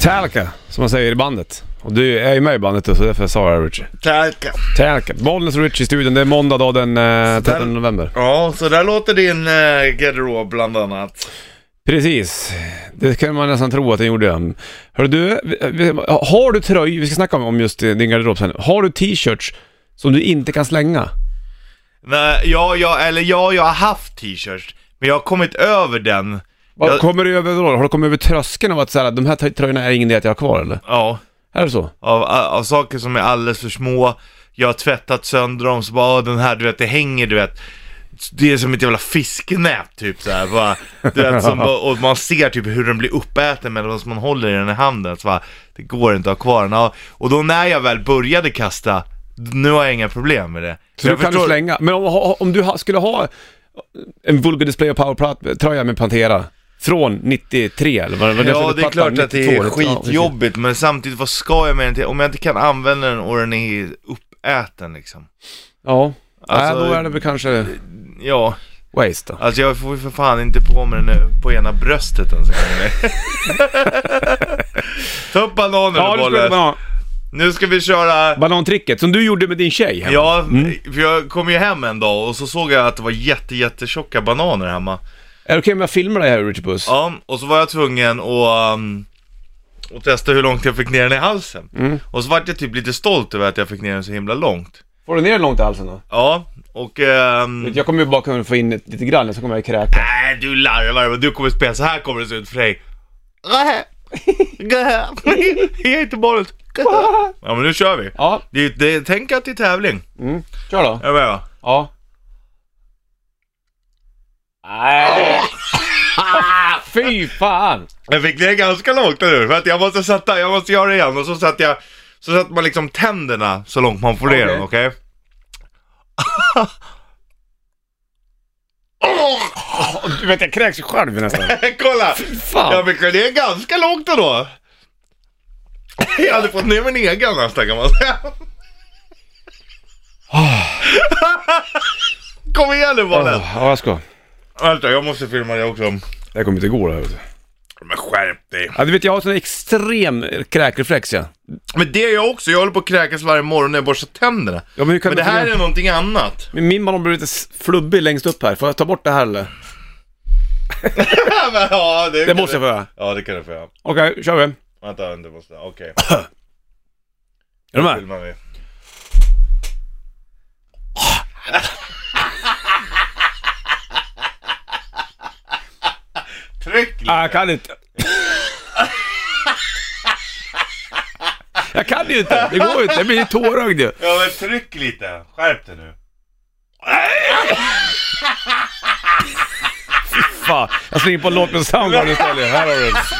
Talca, som man säger i bandet. Och du är ju med i bandet så därför sa jag Richie. Tack. Talca. Bollnäs och Richie i studion. Det är måndag då den eh, 13 november. Ja, så där låter din eh, garderob bland annat. Precis. Det kan man nästan tro att den gjorde. Hör du, vi- vi- har du tröjor, vi ska snacka om- om just eh, din garderob sen. Har du t-shirts som du inte kan slänga? Nej, ja, ja, eller ja, jag har haft t-shirts, men jag har kommit över den. Vad Jag- Kommer du över då? Har du kommit över tröskeln av att säga de här t- tröjorna är ingen idé att jag har kvar eller? Ja, Är det så? av, av saker som är alldeles för små. Jag har tvättat sönder dem, så bara, "Åh, den här, du vet, det hänger, du vet. Det är som ett jävla fiskenät typ så här, bara, du vet, som, bara- och man ser typ hur den blir uppäten medan man håller i den i handen. Så bara, det går inte att ha kvar den. Ja, och då när jag väl började kasta, nu har jag inga problem med det. Så jag du kan du slänga. Men om, om du ha, skulle ha en Vulgar Display of Power-tröja med Pantera från 93 eller vad vad Ja, för det platta? är klart att det 92, är eller? Ja, precis. skitjobbigt, men samtidigt, vad ska jag med den till? Om jag inte kan använda den och den är uppäten liksom. Ja, Alltså- Nej, då är det väl kanske Ja, waste då. alltså jag får ju för fan inte på mig den nu på ena bröstet ens en gång. eller? Ta upp bananen Ja, och du skulle bollen. banan, Nu ska vi köra... banantricket som du gjorde med din tjej hemma. Ja, för jag kom ju hem en dag och så såg jag att det var jätte, jättetjocka bananer hemma. Är det okej om jag filmar dig här Richard Puss? Ja, och så var jag tvungen att um, att testa hur långt jag fick ner den i halsen. Mm. Och så vart jag typ lite stolt över att jag fick ner den så himla långt. Får du ner den långt i halsen då? Ja, och... ehm, Jag kommer ju bara kunna få in ett- lite grann, så kommer jag kräka. Nej, du larvar du kommer spela, så här kommer det se ut för dig. Ge inte bollen. Ja men nu kör vi. Ja, Det, är- det, tänk att det är tävling. mm. kör då. Är du med va? Ja. Nej! Fy fan! Jag fick ner ganska långt nu för att jag måste sätta, jag måste göra det igen och så satte jag, så satte man liksom tänderna så långt man får ner Okej. dem, okej? Du vet, jag kräks ju själv nästan. Kolla! Fan. Jag fick ner ganska långt ändå. Jag hade fått ner min egen nästan kan man säga. Kom igen nu bollen! Ja, jag ska. Vänta, jag måste filma det också. Det här kommer inte gå det här. vet du. Men skärp dig. Ja, du vet, jag har sån extrem kräkreflex ja. Men det är jag också, jag håller på att kräkas varje morgon när jag borstar tänderna. ja men, hur kan Men du det få här ner- är någonting annat. Men Min man blir lite s- flubbig längst upp här. Får jag ta bort det här eller? Men ja, det, Det måste jag få göra. Ja, det kan du få göra. Okej, kör vi. Vänta, du måste... Okej, Är du med? filmar vi. Tryck lite. Nej, jag kan inte. jag kan ju inte. Det går ju inte. Jag blir ju tårögd ju. Ja, men tryck lite. Skärp dig nu. Fan. Jag slänger på en låt med soundboard istället. Här har du den.